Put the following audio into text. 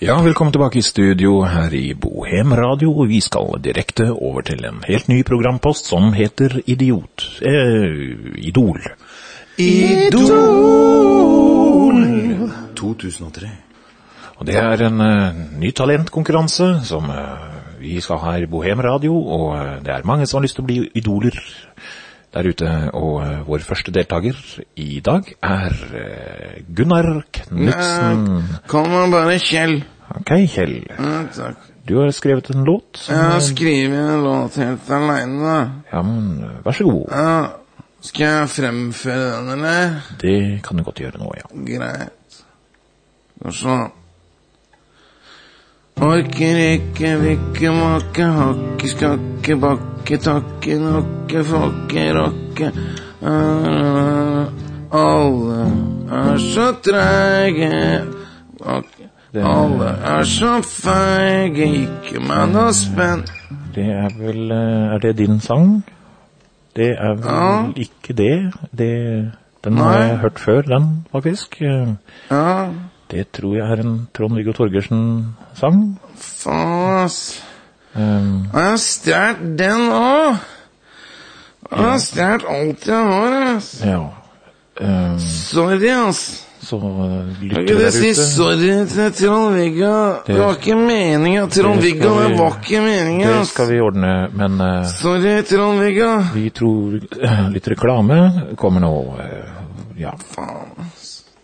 Ja, velkommen tilbake i studio her i Bohem Radio, og vi skal direkte over til en helt ny programpost som heter Idiot. Eh, Idol. Idol! 2003. Og det er en eh, ny talentkonkurranse som eh, vi skal ha her i Bohem Radio, og eh, det er mange som har lyst til å bli idoler der ute. Og eh, vår første deltaker i dag er eh, Gunnar Knudsen. Kall meg bare Kjell. Ok, Kjell. Ja, takk. Du har skrevet en låt. som- Jeg har skrevet en låt helt aleine, da. Ja, men eh, vær så god. Ja. Skal jeg fremføre den, eller? Det kan du godt gjøre nå, ja. Greit. Og så Orker ikke, vikke, makke, hakke, skakke, bakke, takke, nakke, fokke, rokke. Øh, Alle er så treige. Bakke. Det- Alle er så feige, ikke meg noe spenn. Det er vel eh, Er det din sang? Det er vel Ja. ikke det. det den har Nei. jeg hørt før, den, faktisk. Eh, Ja, Det tror jeg er en Trond-Viggo Torgersen-sang. faen, ass. Eh, Og jeg har stjålet den òg. Jeg har stjålet alt jeg har. ass. Ja. Eh, Sorry, ass. Så eh, Kan lytter ikke du der si ute. sorry til Trond-Viggo? Det var ikke meninga, Trond-Viggo. skal vi- Det var ikke meninga, Det ass. skal vi ordne, men eh, Sorry, Trond-Viggo. vi tror eh, litt reklame kommer nå. eh, Ja. Faen.